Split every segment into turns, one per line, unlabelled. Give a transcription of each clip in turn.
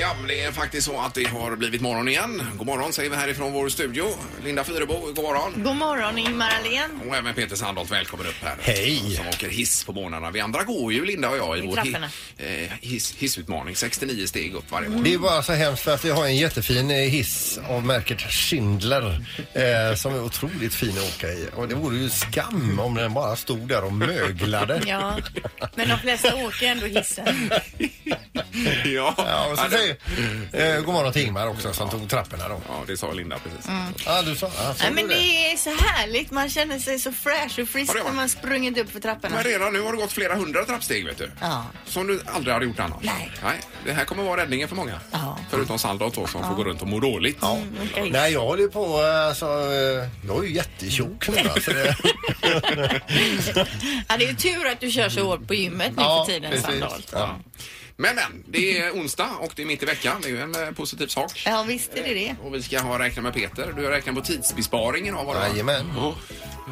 Ja, men det är faktiskt så att det har blivit morgon igen. God morgon säger vi härifrån vår studio. Linda Fyrebo, god morgon.
God morgon Ingmar Ahlén.
Och även Peter Sandholt, välkommen upp här.
Hej.
Som åker hiss på morgnarna. Vi andra går ju, Linda och jag, i,
I
vår
trapporna.
hi- eh, hiss, hissutmaning. 69 steg upp varje morgon.
Det är bara så hemskt för att vi har en jättefin eh, hiss av märket Schindler eh, som är otroligt fin att åka i. Och det vore ju skam om den bara stod där och möglade.
Ja, men de flesta åker ändå hissen.
ja.
Mm. Ja, och så
det-
säger eh, god morgon till Ingmar också som tog trapporna då.
ja, det sa Linda precis.
Mm.
Ja, du sa, ja, sa
Nej,
du
men det är så härligt. Man känner sig så fräsch och frisk
Ja, det gör
när
man.
man sprungit upp för trapporna.
Men redan nu har det gått flera hundra trappsteg, vet du.
Ja.
Som du aldrig hade gjort annars.
Nej.
Det här kommer vara räddningen för många.
Ja.
Förutom Sandholt då, som får gå runt och må dåligt.
Mm, Okej.
Nej, jag håller ju på eh, alltså, eh, jag är ju jättetjock nu alltså. Det,
Ja, det är ju tur att du kör så hårt på gymmet nu för tiden Sandholt.
Ja.
Men, men, det är onsdag och det är mitt i veckan. Det är ju en eh, positiv sak.
Ja, visst är det det.
Och vi ska ha räkna med Peter. Du har räknat på tidsbesparingen av vad det var.
Jajamän.
Ja.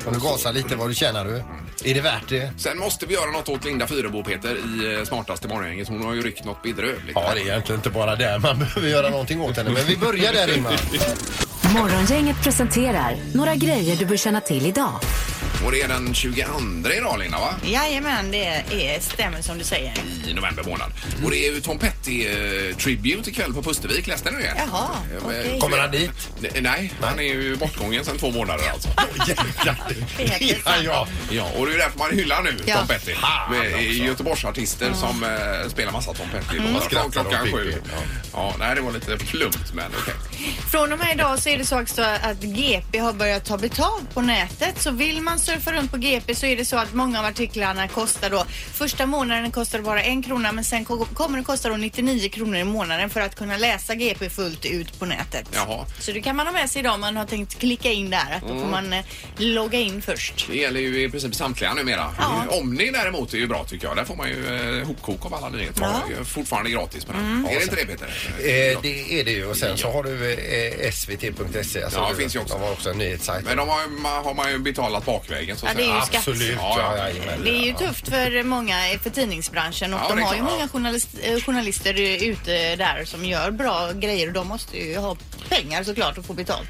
Om du gasar lite vad du tjänar du. Är det värt det?
Sen måste vi göra något åt Linda Fyrebo, Peter, i eh, smartaste morgongänget. Hon har ju ryckt något bedrövligt.
Ja, det är egentligen inte bara där man behöver göra någonting åt henne. Men vi börjar där Ingmar.
Morgongänget presenterar några grejer du bör känna till idag.
Och det är den 22 idag, Linda, va?
Jajamän, det är, stämmer som du säger.
I november månad. Och det är ju Tom Petty-tribute ikväll på Pustervik. Läste ni det?
Jaha,
Eh,
okej.
Kommer han dit?
Nej, han är ju bortgången sedan två månader alltså.
Ja, ja.
Ja, och det är därför man hyllar nu
Ja.
Tom Petty. Med eh, Göteborgsartister som eh, spelar massa Tom Petty. Mm.
skrattar
klockan
och
sju.
tycker,
Ja. nej, det var lite plumpt men okej.
Från och med idag så är det så också att GP har börjat ta betalt på nätet. Så vill man surfa runt på GP så är det så att många av artiklarna kostar då första månaden kostar det bara en krona men sen ko- kommer det kosta då 99 kronor i månaden för att kunna läsa GP fullt ut på nätet.
Jaha. Mm.
Så det kan man ha med sig idag om man har tänkt klicka in där. Att då får man eh, logga in först.
Det gäller ju i princip samtliga numera.
Ja.
Omni däremot är ju bra tycker jag. Där får man ju eh, hopkok av alla nyheter.
Ja. Mm.
Det är ju Fortfarande gratis på den. Är det inte det Peter?
Eh, det är det ju. Och sen så har du eh, svt.se. Alltså,
Ja,
du-
finns ju också.
De har också en nyhetssajt.
Men de har, ju- ma- har man ju betalat bakvägen så att
Ja, det är ju skatt.
Absolut.
Ja, ja.
Ja, jajamän.
Det är ju tufft för många eh, för tidningsbranschen och
Ja, det
de
är
har ju
klart.
många journalist, eh, journalister eh, ute där som gör bra grejer och de måste ju ha pengar såklart och få betalt.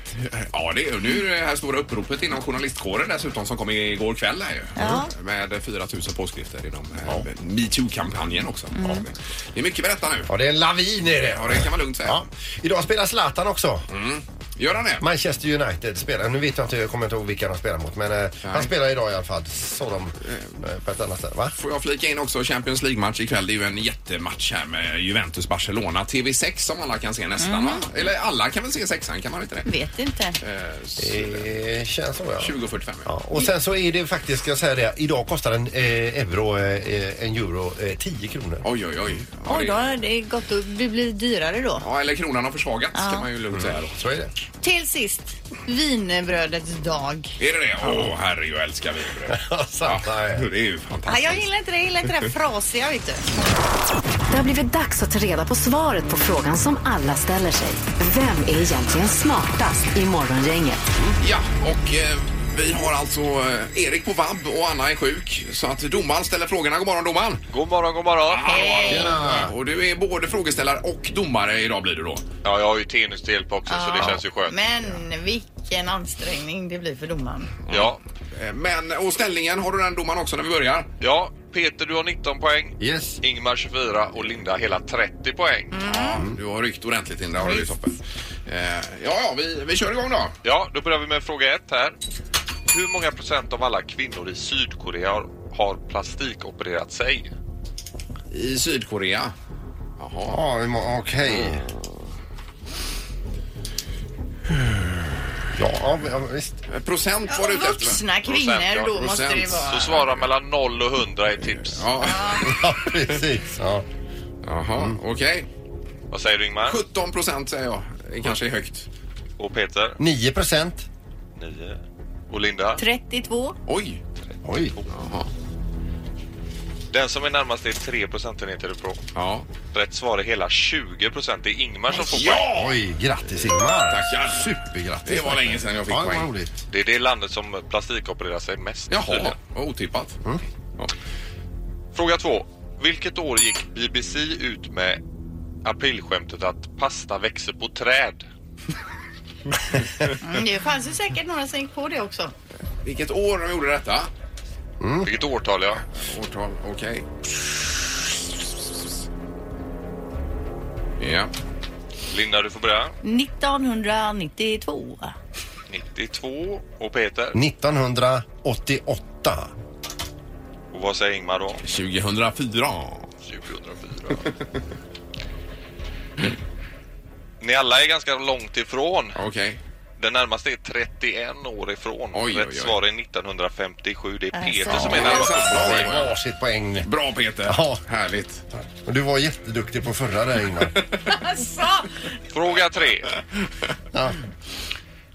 Ja, det är ju nu det här stora uppropet inom journalistkåren dessutom som kom igår kväll här ju.
Ja.
Med 4 000 påskrifter inom ja. metoo-kampanjen också.
Mm.
Ja. Det är mycket att berätta nu.
Ja, det är en lavin är det.
Ja, det kan man lugnt säga.
Ja. Idag spelar Zlatan också.
Gör han det?
Manchester United spelar. Nu vet jag inte, jag kommer inte ihåg vilka de spelar mot. Men eh, han spelar idag i alla fall. Så de eh, på ett annat ställe. Va?
Får jag flika in också Champions League-match ikväll. Det är ju en jättematch här med Juventus-Barcelona. TV6 som alla kan se nästan
Mm.
va? Eller alla kan väl se sexan, kan man inte det?
Vet inte.
Eh, s-
Det känns så ja.
20.45 ja.
Ja, och sen så är det faktiskt, ska jag säga det, idag kostar en eh, euro, eh, en euro eh, 10 kronor.
Oj, oj, oj. Ja,
Oj,
det-
då har det gått att det blir dyrare då.
Ja, eller kronan har försvagats kan man ju lugnt säga då.
Så är det.
Till sist, wienerbrödets dag.
Är det det? Åh, herre, jag älskar wienerbröd.
Samma här.
det är ju
Ah,
fantastiskt.
jag gillar inte det, jag gillar inte det här frasiga vet du.
Det har blivit dags att ta reda på svaret på frågan som alla ställer sig. Vem är egentligen smartast i morgongänget?
Ja, och eh, vi har alltså eh, Erik på vabb och Anna är sjuk. Så att domaren ställer frågorna. God morgon domaren!
God morgon, god morgon.
Eh,
Tjena! Och du är både frågeställare och domare idag blir du då.
Ja, jag har ju Tenus-delp också så det känns ju skönt.
Men vilken ansträngning det blir för domaren.
Ja.
Eh, Men, och ställningen, har du den domaren också när vi börjar?
ja, Peter du har 19 poäng,
Yes.
Ingmar 24 och Linda hela 30 poäng.
Ja, du har ryckt ordentligt Linda. Har du
Visst.
toppen. Eh, ja, ja, vi, vi kör igång då.
Ja, då börjar vi med fråga 1 här. Hur många procent av alla kvinnor i Sydkorea har, har plastikopererat sig?
I Sydkorea. Jaha.
Ja, vi må- okej. Ja, ja, ja, visst.
Eh, Procent var du ute efter.
Vuxna kvinnor, då
Procent,
ja,
måste det
procent.
vara.
Så svara mellan 0 och 100 är tips.
Ja, Mm.
Ja, precis. Ja.
jaha, okej.
Vad säger du Ingmar?
17 procent säger jag. Det kanske är högt.
Och Peter?
9 procent.
9. Och Linda?
32.
Oj!
Oj.
Jaha.
Den som är närmast är 3 procentenheter ifrån.
Ja.
Rätt svar är hela 20 procent. Det är Ingmar som får poäng.
Ja!
Oj, grattis Ingmar.
Tackar.
Supergrattis.
Det var länge sedan jag fick
ja, det var
poäng.
roligt.
Det är det landet som plastikopererar sig mest.
Jaha,
Eh.
tydligen.
vad otippat.
Mm.
Ja.
Fråga två. Vilket år gick BBC ut med aprilskämtet att pasta växer på träd.
Mm, det fanns ju säkert några som gick på det också.
Vilket år de gjorde detta? Mm.
Vilket årtal ja.
Årtal, okej. Ja.
Linda du får börja.
1992.
92 och Peter.
Mm.
1988.
Och vad säger Ingmar då?
2004.
2004. Ni alla är ganska långt ifrån.
Okej.
Den närmaste är 31 år ifrån.
Oj, oj,
Rätt
oj.
svar är 1957. Det är
Alltså.
Peter som är
Ja,
närmast.
sant.
Det är varsitt poäng.
Bra Peter!
Ja.
Härligt.
Och du var jätteduktig på förra där Ingmar.
Alltså!
Fråga 3.
Ja.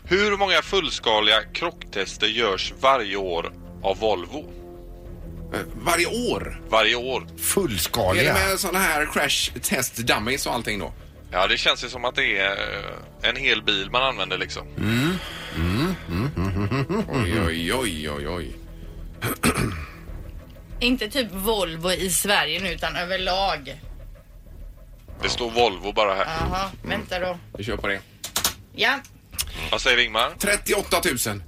Hur många fullskaliga krocktester görs varje år av Volvo?
Eh, Varje år?
Varje år?
Är det
Fullskaliga.
med sådana här crash test dummies och allting då?
Ja, det känns ju som att det är eh, en hel bil man använder liksom.
Oj,
Mhm.
oj, oj, oj, oj.
Inte typ Volvo i Sverige nu utan överlag.
Det står Volvo bara här.
Jaha, vänta då.
Vi kör på det.
Ja,
Vad säger Ingmar
38 000.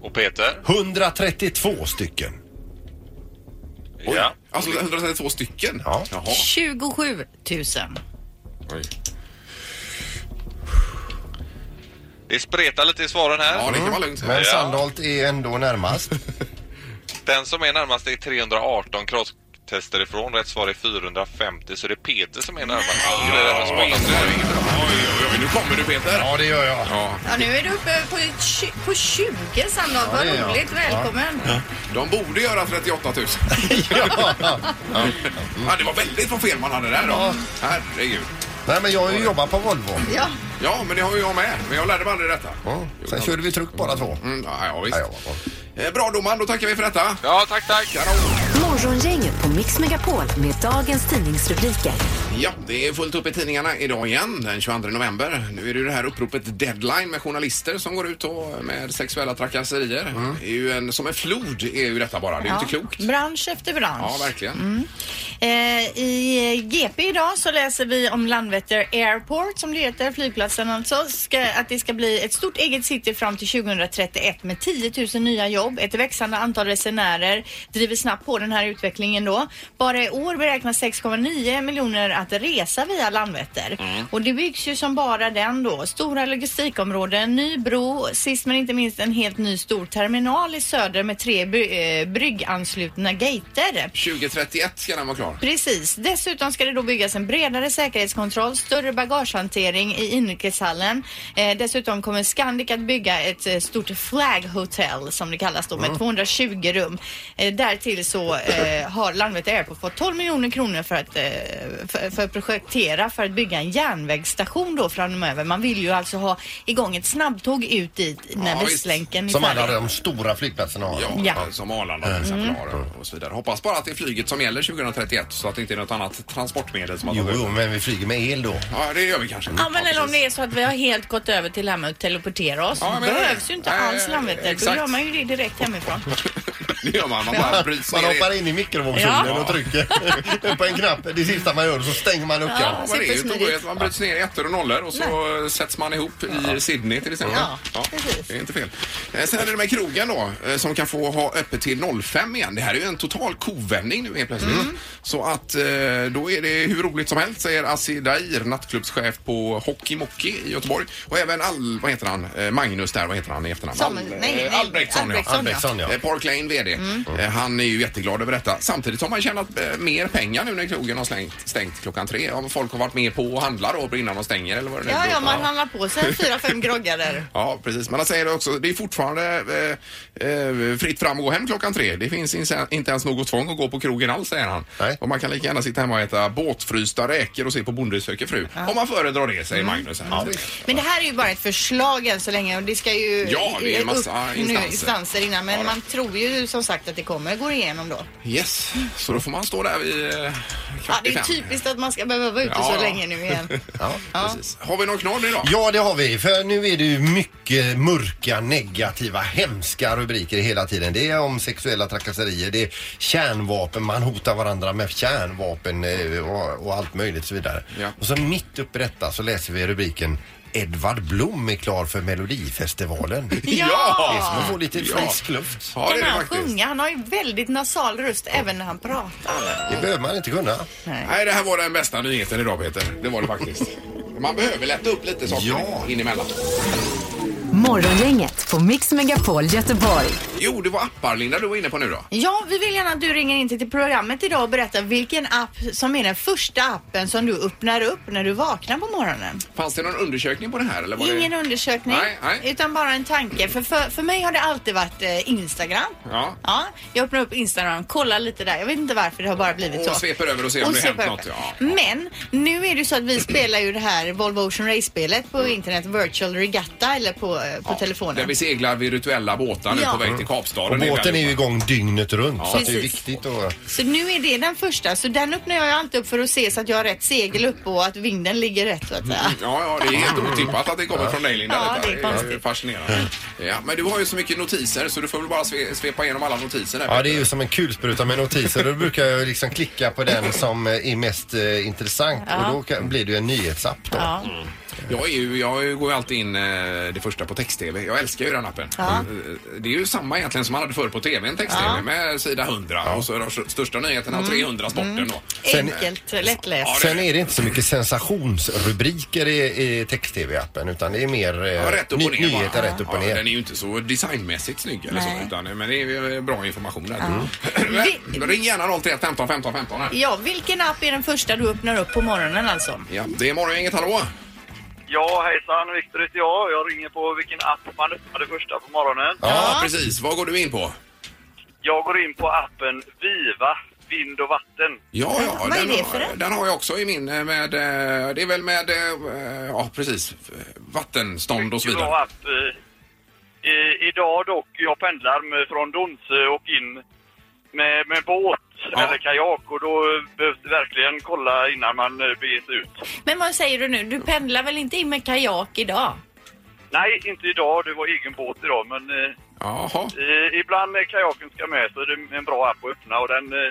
och Peter?
132 stycken.
Oj.
Ja.
Alltså 132 stycken?
Mm. Ja.
Jaha.
27 000.
Oj.
Det spretar lite i svaren här.
Ja, det kan vara lugnt.
Men
Ja.
Sandholt är ändå närmast.
Den som är närmast är 318 krocktester ifrån. Rätt svar är 450, så det är Peter som är närmast. Det är det här smartaste.
Oj, oj, oj. Nu kommer du Peter.
Ja, det gör jag.
Ja,
Ja, nu är du uppe på, ett tju- på 20 Sandra. Vad
det är jag.
roligt. Välkommen.
de borde göra 38 000. ja, det var väldigt vad fel man hade där då.
Ja.
Herregud.
Nej, men jag har ju jobbat på Volvo.
Ja.
Ja, men det har ju jag med. Men jag lärde mig aldrig detta.
Ja. Sen körde vi truck bara två.
Mm, ja, ja,
Ja, ja,
visst.
ja.
Eh, Bra domaren, då tackar vi för detta.
Ja, tack, tack.
Morgongänget på Mix Megapol med dagens tidningsrubriker.
Ja, det är fullt upp i tidningarna idag igen den 22 november. Nu är det ju det här uppropet Deadline med journalister som går ut och med sexuella trakasserier.
Mm.
Det är ju en, som en flod är ju detta bara. Det är ju inte klokt.
Bransch efter bransch.
Ja, verkligen.
Eh, I GP idag så läser vi om Landvetter Airport som det heter, flygplatsen alltså, ska, att det ska bli ett stort eget city fram till 2031 med 10 000 nya jobb. Ett växande antal resenärer driver snabbt på den här utvecklingen då. Bara i år beräknas 6,9 miljoner att resa via Landvetter.
Mm.
Och det byggs ju som bara den då. Stora logistikområden, ny bro, sist men inte minst en helt ny stor terminal i söder med tre bry- eh, brygganslutna gater.
2031 ska den vara klar.
Precis. Dessutom ska det då byggas en bredare säkerhetskontroll, större bagagehantering i inrikeshallen. Eh, dessutom kommer Scandic att bygga ett eh, stort flag hotel som det kallas då med 220 rum. Eh, därtill så eh, har Landvetter Airport fått 12 miljoner kronor för att, eh, för, för att projektera för att bygga en järnvägsstation då framöver. Man vill ju alltså ha igång ett snabbtåg ut dit när
Ja, visst.
Västlänken är
Som alla
färdig.
de stora flygplatserna har.
Ja, eh,
Ja.
som Arlanda
Mm.
till exempel har och så vidare. Hoppas bara att det är flyget som gäller 2031 så att det inte är något annat transportmedel som har
Jo,
tagit
jo,
över.
men vi flyger med el då.
Ja, det gör vi kanske.
Ja men eller om
precis.
det är så att vi har helt gått över till det här med att teleportera oss.
Ja, jag menar
Behövs
det.
ju inte
Nej,
alls Landvetter. Då
exakt.
gör man ju det direkt hemifrån.
Det gör man. Man bara bryts
Man
ner i-
hoppar in i mikrovågsugnen
Ja.
och trycker på en knapp. Det sista man gör så stänger man luckan.
Ja, men det är ju
Supersmidigt.
tokigt. Man bryts ner i ettor och nollor och så sätts man ihop i Sydney till exempel.
Ja, precis.
Det är inte fel. Eh, Sen är det med krogen då eh, som kan få ha öppet till 05 igen. Det här är ju en total kovändning nu helt plötsligt.
Mm.
Så att eh, då är det hur roligt som helst säger Assi Dair, nattklubbschef på Hockey Mockey i Göteborg. Och även Al, vad heter han, Eh, Magnus där, vad heter han i efternamn?
Som-
Al-
nej,
eh,
nej,
Albrektsson ja.
Albrektsson.
Albrektsson, ja.
Eh, Park Lane VD.
Mm.
Eh, Han är ju jätteglad över detta. Samtidigt har man tjänat eh, mer pengar nu när krogen har slängt, stängt klockan tre. Om folk har varit med på och handlar då innan de stänger eller vad det nu
Ja,
beror
ja,
på.
man handlar på sig fyra, fem groggar där.
Ja, precis. Men han säger också, det är fortfarande eh, eh, fritt fram och gå hem klockan tre. Det finns inse- inte ens något tvång att gå på krogen alls, säger han.
Nej.
Och man kan lika gärna sitta hemma och äta båtfrysta räkor och se på Bonde söker fru. Om man föredrar det, säger
Mm.
Magnus. Här.
Men det här är ju bara ett förslag än så länge och det ska ju
Ja, det är en
upp
massa
nu,
instanser.
instanser innan. Men
Ja, då.
man tror ju som som sagt att det kommer går igenom då.
Yes, så då får man stå där vid eh,
Ja,
kvart
det
i
är
fem.
typiskt att man ska behöva vara ute
Ja, ja.
så länge nu igen.
Ja.
Ja.
Precis. Har vi någon knorr idag?
Ja, det har vi. För nu är det ju mycket mörka, negativa, hemska rubriker hela tiden. Det är om sexuella trakasserier, det är kärnvapen, man hotar varandra med kärnvapen eh, och, och allt möjligt och så vidare.
Ja.
Och så mitt uppe i detta så läser vi rubriken Edvard Blom är klar för Melodifestivalen.
Ja!
Det är som att få lite
Ja.
frisk luft.
Ja, det
kan
är det
han
faktiskt.
sjunga? Han har ju väldigt nasal röst även när han pratar.
Det behöver man inte kunna.
Nej, det här var den bästa nyheten idag Peter. Det var det faktiskt. Man behöver lätta upp lite saker
Ja.
in emellan.
Morgongänget på Mix Megapol Göteborg.
Jo, det var appar Linda du var inne på nu då.
Ja, vi vill gärna att du ringer in till programmet idag och berättar vilken app som är den första appen som du öppnar upp när du vaknar på morgonen.
Fanns det någon undersökning på det här? Eller var
Ingen
det...
undersökning,
Nej, nej.
utan bara en tanke. För, för, för mig har det alltid varit eh, Instagram.
Ja.
jag öppnar upp Instagram, kollar lite där. Jag vet inte varför, det har bara blivit
Och
så.
sveper över och ser om det
sveper
hänt något,
över. Mm,
ja.
Men nu är det ju så att vi spelar ju det här Volvo Ocean Race-spelet på internet, Virtual Regatta eller på, eh, på
Ja,
telefonen.
Där vi seglar virtuella båtar nu
Ja.
på väg till Kapstaden.
Och båten är ju
allihopa.
igång dygnet runt så att det är
Precis.
viktigt att...
Så nu är det den första. Så den öppnar jag ju alltid upp för att se så att jag har rätt segel upp och att vinden ligger rätt så att säga.
Ja, ja, det är helt otippat att det kommer från dig Linda.
Ja,
detta.
det är konstigt.
fascinerande. Ja, men du har ju så mycket notiser så du får väl bara sve- svepa igenom alla notiser där.
Ja, det är
Peter.
ju som en kulspruta med notiser. Då brukar jag liksom klicka på den som eh, är mest eh, intressant och då kan, blir det ju en nyhetsapp då.
Ja.
Jag, är ju, jag går ju alltid in eh, det första på text-tv. Jag älskar ju den appen.
Ja.
Eh, Det är ju samma egentligen som man hade förr på tvn, text-tv med sida 100 och så de s- största nyheterna och 300 sporten då.
Sen-
Enkelt, lättläst.
Ja,
Sen är det inte så mycket sensationsrubriker i, i text-tv-appen utan det är mer eh,
Ja, rätt upp och
ny-
ner bara.
nyheter rätt upp och
Ja,
ner.
Den är ju inte så designmässigt snygg eller så,
Nej.
utan, men det är ju eh, bra information där.
Vi-
Men, ring gärna 031 15 15 15 här.
Ja, vilken app är den första du öppnar upp på morgonen alltså?
Ja, det är morgon, inget hallå?
Ja, hejsan. Viktor heter jag. Jag ringer på vilken app man öppnade första på morgonen.
Ja, precis. Vad går du in på?
Jag går in på appen Viva Vind och Vatten.
Ja, ja.
vad är
den,
det
har-
för en?
den har jag också i min eh, med, eh, det är väl med, eh, ja precis, eh, vattenstånd och så
Mycket
vidare.
bra app. eh, I, idag dock, jag pendlar med, från Donsö och in med, med båt
Ja.
eller kajak och då eh, behövs det verkligen kolla innan man eh, beger sig ut.
Men vad säger du nu? Du pendlar väl inte in med kajak idag?
Nej, inte idag. Det var egen båt idag, men eh,
Jaha.
eh, ibland när kajaken ska med så är det en bra app att öppna och den eh,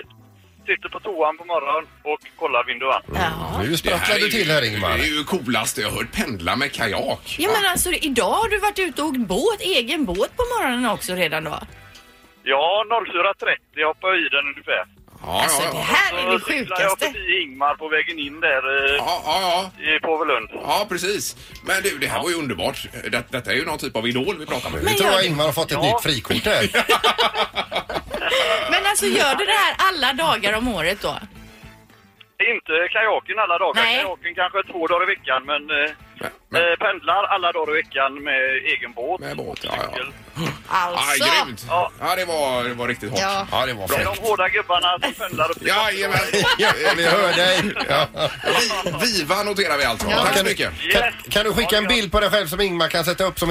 sitter på toan på morgonen och kollar vind och vatten.
Ja.
Nu
Det
sprattlar
är
du
ju-
till här Ingmar.
Det är ju coolaste jag hört. Pendla med kajak.
Ja men alltså idag har du varit ute och åkt båt, egen båt på morgonen också redan då?
Ja, 04.30 hoppar jag i den ungefär.
Ja,
Alltså
ja,
det
ja.
här är det
Så cyklar jag
sjukaste.
förbi Ingmar på vägen in där eh,
Ja, ja, ja.
i Påvelund.
Ja, precis. Men du, det här var ju underbart. Det, detta är ju någon typ av idol vi pratar med.
Nu
Men
tror
gör
jag
det.
Ingmar har fått ett
Ja.
nytt frikort här.
Men alltså gör du det här alla dagar om året då?
Inte kajaken alla dagar.
Nej.
Kajaken kanske två dagar i veckan, men, eh,
Men- men-
eh, pendlar alla dagar i veckan med egen båt.
Med båt, ja, ja.
Cykel.
Ah,
Alltså!
grymt!
Ja.
Ja, det var, det var riktigt hårt.
Ja.
Ja, det var
Det är
fräckt.
de hårda gubbarna som pendlar upp till
Jajamän!
Ja, vi hör dig. Ja.
Vi- Viva noterar vi alltså.
Ja.
Tack så
Kan, du,
mycket.
kan, kan du skicka en bild på dig själv som Ingmar kan sätta upp som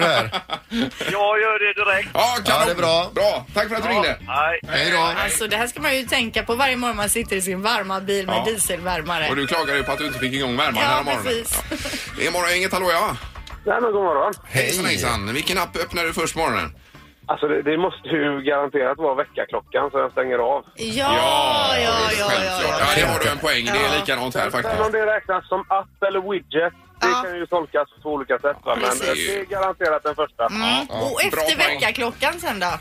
här?
Jag gör det direkt.
Ja, kanon.
Ja, det är bra.
Bra. Tack för att du ringde.
Nej.
Hej då.
Alltså det här ska man ju tänka på varje morgon man sitter i sin varma bil med
Ja.
dieselvärmare.
Och du klagar ju på att du inte fick igång värmen
Ja,
här morgonen.
precis.
Det är morgongänget, hallå ja.
Nej men god morgon.
Hejsan hejsan. Vilken app öppnar du först på morgonen?
Alltså det, det måste ju garanterat vara väckarklockan så jag stänger av.
Ja, ja, ja, ja, ja,
Självklart. Ja, det har du en poäng. Det är likadant här
Sen om
faktiskt.
det räknas som app eller widget, det
Ja.
kan ju tolkas på olika sätt va? men
Precis.
eh, det är garanterat den första.
Mm. Och
bra
efter
poäng.
väckarklockan sen då?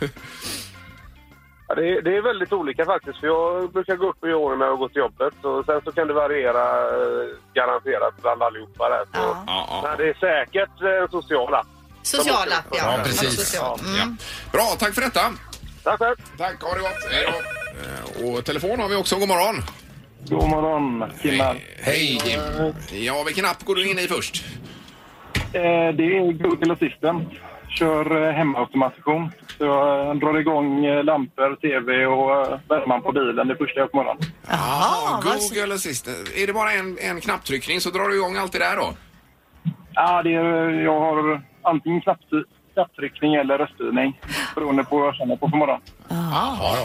Ja, det, är, det är väldigt olika faktiskt för jag brukar gå upp i åren med att gå till jobbet och sen så kan det variera eh, garanterat bland allihopa där. Så.
Ja.
Ja, ja.
Men det är säkert eh, en social app.
Sociala. Ja,
Ja, precis.
Social.
ja.
Mm.
Bra, tack för detta.
Tack själv!
Tack, ha det gott. Hej då. Eh, Och telefon har vi också. God morgon. Eh,
God morgon, Kimman.
Hej Jim. Ja, vilken app går du in i först?
Eh, det är Google Assistant. Kör eh, hemautomation. Så jag drar igång eh, lampor, tv och eh, värmen på bilen det första jag på morgonen.
Jaha, vad-
Google Assistant. Är det bara en, en knapptryckning så drar du igång allt det där då?
Ja, det är, jag har antingen knapptryck, knapptryckning eller röststyrning beroende på vad jag känner på för morgonen.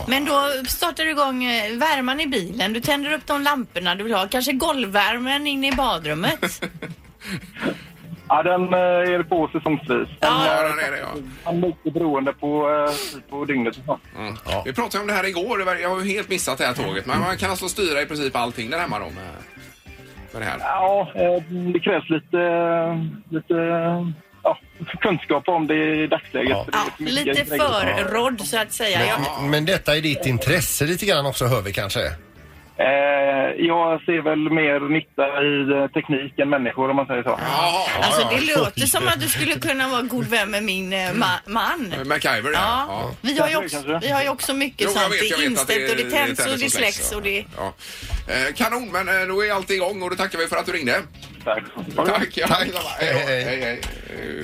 Men då startar du igång eh, värmen i bilen. Du tänder upp de lamporna du vill ha. Kanske golvvärmen inne i badrummet.
Ja, den eh, är på säsongsvis.
Ja,
Ja,
där är det, ja.
Den är lite beroende på, eh, på dygnet och sånt.
Mm. Vi pratade om det här igår. det var- Jag har ju helt missat det här tåget. Men man kan alltså styra i princip allting där hemma då med, med det här.
Ja, eh, det krävs lite, lite ja, kunskap om det i dagsläget.
Ja.
för det är
ja,
mycket
lite
grejer.
förrådd så att säga. Ja.
Men, men detta är ditt intresse lite grann också hör vi kanske?
Eh, jag ser väl mer nytta i eh, teknik än människor om man säger så.
Jaha,
Alltså det låter som att du skulle kunna vara god vän med min eh, ma- man.
MacGyver det här.
Ja, vi har ju också, vi har ju också mycket
Jo, jag
sånt.
vet,
Det
jag
är
vet att det
inställt och det
är
tänds och det
tennis och släcks,
släcks
ja.
och det...
Ja. Eh, Kanon, men eh, då är allt igång och då tackar vi för att du ringde.
Tack.
Tack! Ja,
Tack.
ja, Hej, hej.
Hej,
hej, hej.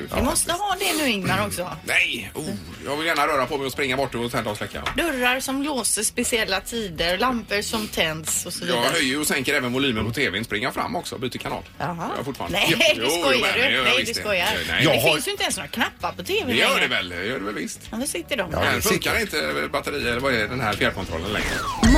Eh,
Vi måste ha det nu Ingmar också.
Nej! Oh, jag vill gärna röra på mig och springa bort och tända och släcka.
Dörrar som låses speciella tider, lampor som tänds och så
Jag
vidare.
höjer och sänker även volymen på tvn. Springa fram också, byter kanal.
Jaha.
Jag har fortfarande.
Nej,
Jo,
du
jo,
skojar
men
du.
det gör jag
Nej, du
visst det.
skojar.
Nej,
Jag
Det
har-
finns ju inte ens några knappar på
Det
tvn
gör det
längre.
väl, det gör det väl visst.
Ja, där sitter de.
Här
det sitter-
funkar inte batterier, vad är den här fjärrkontrollen längre?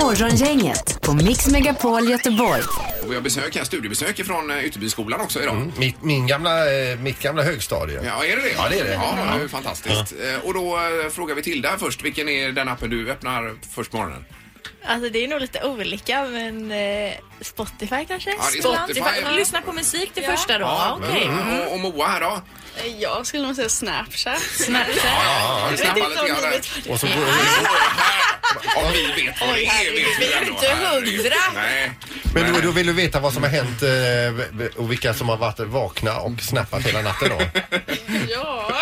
Morgongänget på Mix Megapol Göteborg.
Och vi har besök här, studiebesök från Ytterbyskolan också idag.
Mitt, min gamla, eh, mitt gamla högstadie.
Ja, är det det?
Ja, det är det.
Ja, det är ju fantastiskt. Eh, Och då eh, frågar vi Tilda först, vilken är den appen du öppnar först på morgonen?
Alltså det är nog lite olika men eh, Spotify kanske?
Ja, det är Spotify.
Lyssna på musik det första då.
Ja,
Ja, Okej.
Mm. Och, och Moa här då?
Eh, Jag skulle nog säga Snapchat.
Ja, vi snappar lite grann där.
Och så,
Om vi vet vad det är vet vi
vi är
ändå.
inte
Herregud.
hundra.
Nej.
men då, då vill du veta vad som har hänt eh, och vilka som har varit vakna och snappat hela natten då?
ja,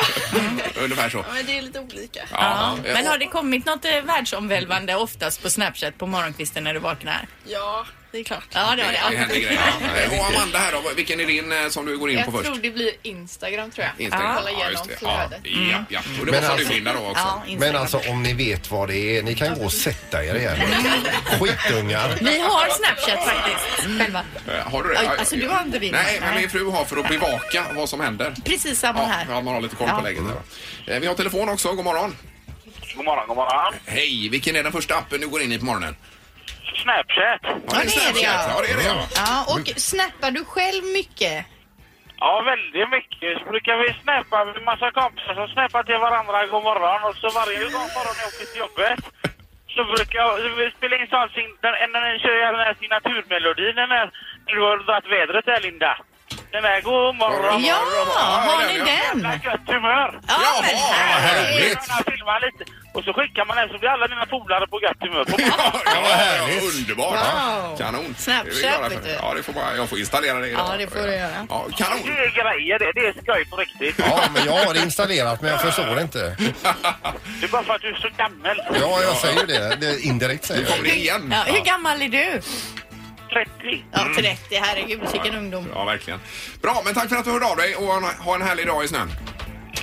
Ungefär så.
men det är lite olika.
Ja.
Eh,
Men har det kommit något eh, världsomvälvande oftast på Snapchat på morgonkvisten när du vaknar?
Ja, det är klart.
Ja, det har
Det
det.
händer grejer. Och Amanda här då, vilken är din eh, som du går in på först?
det blir Instagram tror jag.
Instagram.
Kolla igenom
Ja,
flödet.
ja, ja. Och det
Men
var som du
alltså-
Linda då också.
Ja,
Men
Instagram.
alltså om ni vet vad det är, ni kan gå och sätta er igen. Skitungar.
Vi har Snapchat faktiskt själva.
Eh, Har du det?
Aj,
Ja, ja,
alltså,
ja.
du har inte din,
Nej, men
nej.
min fru har för att bevaka vad som händer.
Precis samma
Ja, ja,
här.
man har lite koll på
Ja.
läget där. va. Eh, Vi har telefon också, god morgon.
God morgon, god morgon.
Hej, vilken är den första appen du går in i på morgonen?
Snapchat.
Ja,
det är det,
Snapchat.
ja. Mm.
Ja, det är det ja.
Ja, och snappar du själv mycket?
Ja, väldigt mycket. Så brukar vi snäppa med massa kompisar som snäppar till varandra god morgon. Och så varje gång morgon jag åker till jobbet så brukar jag vi spela in sån sin, den, den, den, kör jag den här signaturmelodin, den här, när du har dragit vädret där Linda. Den här god morgon.
Ja, har ni
ja.
den?
Jävla gött humör!
Ja, men
Jaha,
här.
härligt.
Jag filmar lite och så skickar man den så blir alla mina polare på gött humör. På
Ja,
vad
ja,
härligt.
underbart!
Wow.
Kanon!
Snapchat,
Det är vi glada för.
vet du.
Ja, det får bara, jag får installera det idag.
Ja, det får du göra.
Ja,
det
kanon!
är grejer det, det är skoj på riktigt.
Ja, men jag har det installerat men jag förstår inte.
Det är bara för att du är så gammal.
Ja, jag säger ju det. det är indirekt säger jag.
Kommer det igen?
Ja, hur gammal är du?
30.
Ja, 30. Herregud, vilken ungdom.
Ja, verkligen. Bra, men tack för att du hörde av dig och ha en härlig dag i snön.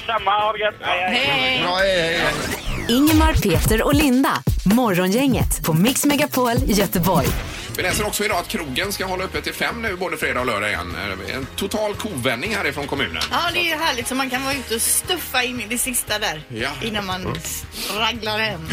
Samma, ha det gött. Hej, hej.
Hej!
Bra, hej, hej.
Ingemar, Peter och Linda. Morgongänget på Mix Megapol Göteborg.
Vi läser också idag att krogen ska hålla öppet till fem nu både fredag och lördag igen. Eh, En total kovändning härifrån kommunen.
Ja, det är ju härligt så man kan vara ute och stuffa in i det sista där
Ja. Mm.
innan man raglar hem.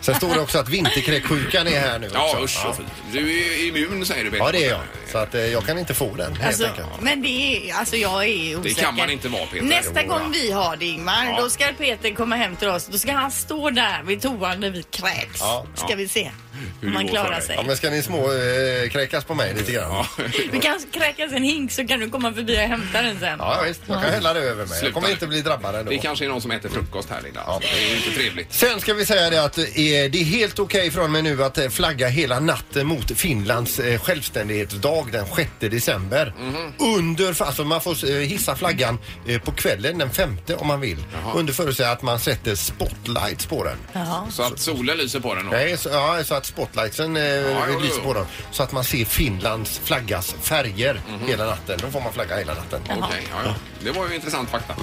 Sen står det också att vinterkräksjukan är här nu också.
Ja, usch och fy. Du är immun säger du. Peter.
Ja, det är jag. Så att eh, jag kan inte få den helt
Alltså,
enkelt.
men det är, alltså jag är osäker.
kan man inte vara, Peter.
Nästa
Jo,
gång vi har det Ingmar,
Ja.
då ska Peter komma hem till oss. Då ska han stå där vid toan när vi kräks.
Ja.
Ska vi se
Hur
om
det
man
går för
klarar
dig.
sig.
Ja, men ska ni små eh, kräkas på mig lite grann?
Ja.
Ja,
Vi kan kräkas en hink så kan du komma förbi och hämta den sen.
ja visst. Jag kan hälla det över mig.
Sluta
Jag kommer
nu.
inte bli drabbad ändå.
Det kanske är någon som äter frukost här Linda. Alltså, Det är ju inte trevligt.
Sen ska vi säga det att eh, det är helt okej från mig nu att eh, flagga hela natten mot Finlands eh, självständighetsdag den 6 december. Under, alltså man får eh, hissa flaggan eh, på kvällen den 5 om man vill. Under förutsättning att man sätter spotlights på den.
Ja.
Så att solen lyser på den då.
Nej, så, ja, så att spotlightsen eh,
jo, jo.
lyser på dem. Så att man ser Finlands flaggas färger hela natten. Då får man flagga hela natten.
Okej, ja, ja. Det var ju intressant fakta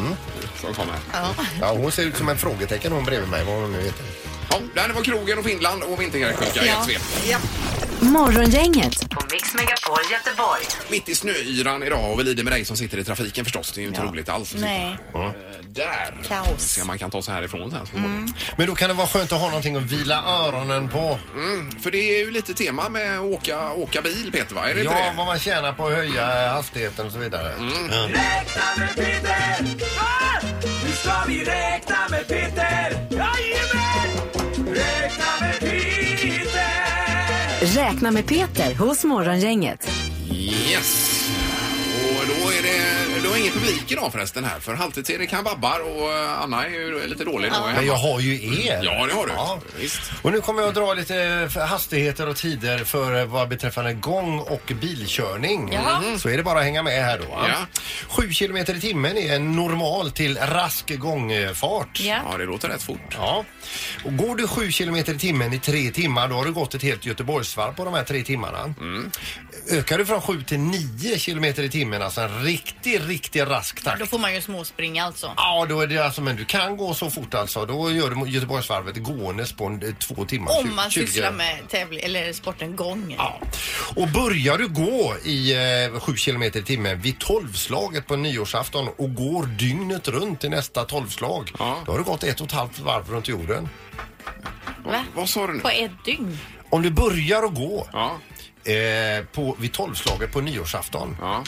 som kom här.
Ja, hon ser ut som en frågetecken hon bredvid mig, vad hon nu heter.
Ja, där det var krogen och Finland och vinterkräksjuka i ett svep.
Ja.
Morgongänget på Mix Megapol Göteborg.
Mitt i snöyran idag och vi lider med dig som sitter i trafiken förstås. Det är ju inte roligt alls. att sitta,
Nej.
eh, Där!
Kaos. Mm.
Se om man kan ta sig härifrån sen. så småningom.
Men då kan det vara skönt att ha någonting att vila öronen på.
Mm, För det är ju lite tema med att åka, åka bil Peter va? Är det inte
Ja,
det?
vad man tjänar på att höja hastigheten och så vidare.
Mm.
Räkna med Peter hos Morgongänget.
Yes! Och då är det, då är ingen publik idag förresten här. För halvtids-Erik han babbar och eh, Anna är ju lite dålig då.
Men jag har ju er.
Ja, det har du.
Ja.
Visst.
Och nu kommer jag att dra lite eh, hastigheter och tider för eh, vad beträffande gång och bilkörning. Mm. Så är det bara att hänga med här då. va?
Ja.
7 kilometer i timmen är en normal till rask gångfart.
Ja, det låter rätt fort.
Ja. Och går du 7 kilometer i timmen i tre timmar då har du gått ett helt Göteborgsvarv på de här tre timmarna.
Mm.
Ökar du från 7 till 9 kilometer i timmen, alltså en riktig, riktig rask takt.
Då får man ju småspringa alltså.
Ja, då är det alltså, men du kan gå så fort alltså. Då gör du Göteborgsvarvet gåendes på en, eh, två timmar. tju-
Om man
20.
sysslar med tävling eller sporten gång.
Ja. Och börjar du gå i eh, 7 km i timmen vid tolvslaget på nyårsafton och går dygnet runt till nästa tolvslag.
Ja.
Då har du gått ett och ett halvt varv runt jorden.
Va?
Vad sa du nu?
På ett dygn.
Om du börjar att gå
Ja,
eh, på, vid tolvslaget på nyårsafton
ja.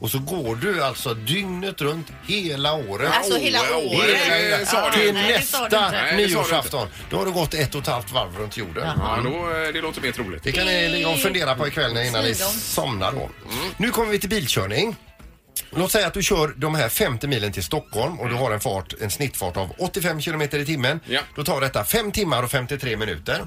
och så går du alltså dygnet runt hela året.
Alltså hela
åh,
året.
det- det- det sa du
till
inte.
nej, det sa du
nästa
inte.
Nej, det sa du
nyårsafton. Då har du gått ett och ett halvt varv runt jorden.
Ja, då, eh, det låter mer troligt.
Det kan ni ligga och fundera på ikväll innan ni
Sidom.
somnar då. Nu kommer vi till bilkörning. Låt säga att du kör de här 50 milen till Stockholm och du har en, fart, en snittfart av 85 kilometer i timmen.
Ja.
Då tar detta 5 timmar och 53 minuter.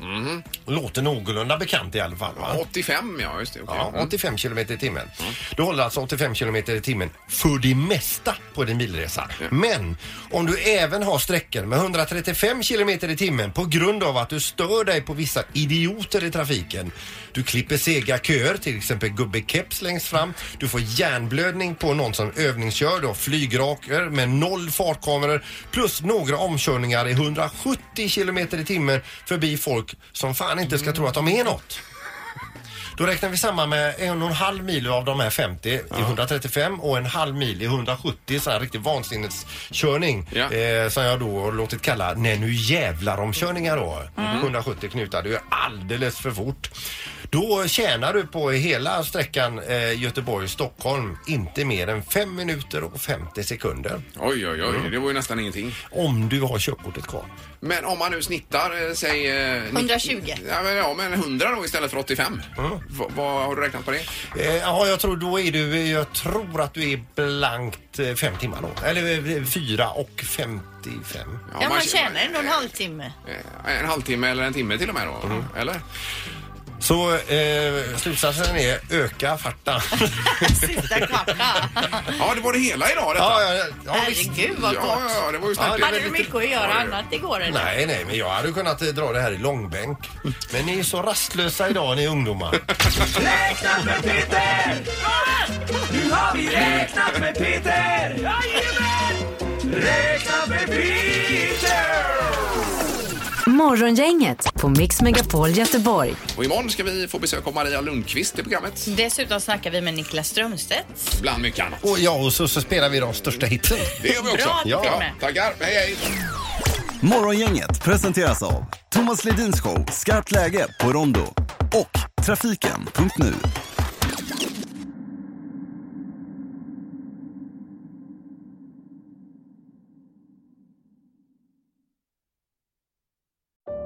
Låter någorlunda bekant i alla fall. Va?
85, ja just det. okej.
Ja,
Mm.
85 kilometer i timmen. Du håller alltså 85 kilometer i timmen för det mesta på din bilresa. Men om du även har sträckor med 135 kilometer i timmen på grund av att du stör dig på vissa idioter i trafiken. Du klipper sega köer, till exempel gubbe keps längst fram. Du får hjärnblödning på någon som övningskör. Du har flygraker med noll fartkameror plus några omkörningar i 170 kilometer i timmen förbi folk som fan inte ska tro att de är något. Då räknar vi samman med en och en halv mil av de här 50 i 135 och en halv mil i 170. Sån här riktig vansinneskörning
Ja.
eh, som jag då har låtit kalla när nu jävlar omkörningar då. 170 knutar, det är ju alldeles för fort. Då tjänar du på hela sträckan eh, Göteborg-Stockholm inte mer än 5 minuter och 50 sekunder.
Oj, oj, oj. Det var ju nästan ingenting.
Om du har körkortet kvar.
Mm. Men om man nu snittar, eh, säg... eh, nitt-
120.
Ja men, ja, men 100 då istället för 85. Va, vad har du räknat på det?
Eh, ja, jag tror då är du, jag tror att du är blankt eh, fem timmar då. Eller eh, fyra och 55.
Ja, man tjänar ändå en halvtimme.
eh, En halvtimme eller en timme till och med då? Eller?
Så eh, slutsatsen är öka farten.
Sista kvarten.
Ja, det var det hela idag detta.
ja, ja, ja, visst.
Herregud
ja,
vad kort.
ja, det var ju snabbt.
Ja,
Hade du mycket att göra annat igår eller?
Nej, nej, men jag hade kunnat eh, dra det här i långbänk. Men ni är så rastlösa idag ni ungdomar.
Morgongänget på Mix Megapol Göteborg.
Och imorgon ska vi få besök av Maria Lundqvist i programmet.
Dessutom snackar vi med Niklas Strömstedt.
Bland mycket annat.
Och ja, och så, så spelar vi de största hitsen.
Det gör vi också.
Bra,
Ja.
ja, tackar. Hej, hej.
Morgongänget presenteras av Thomas Ledins show Skarpt läge på Rondo och Trafiken.nu.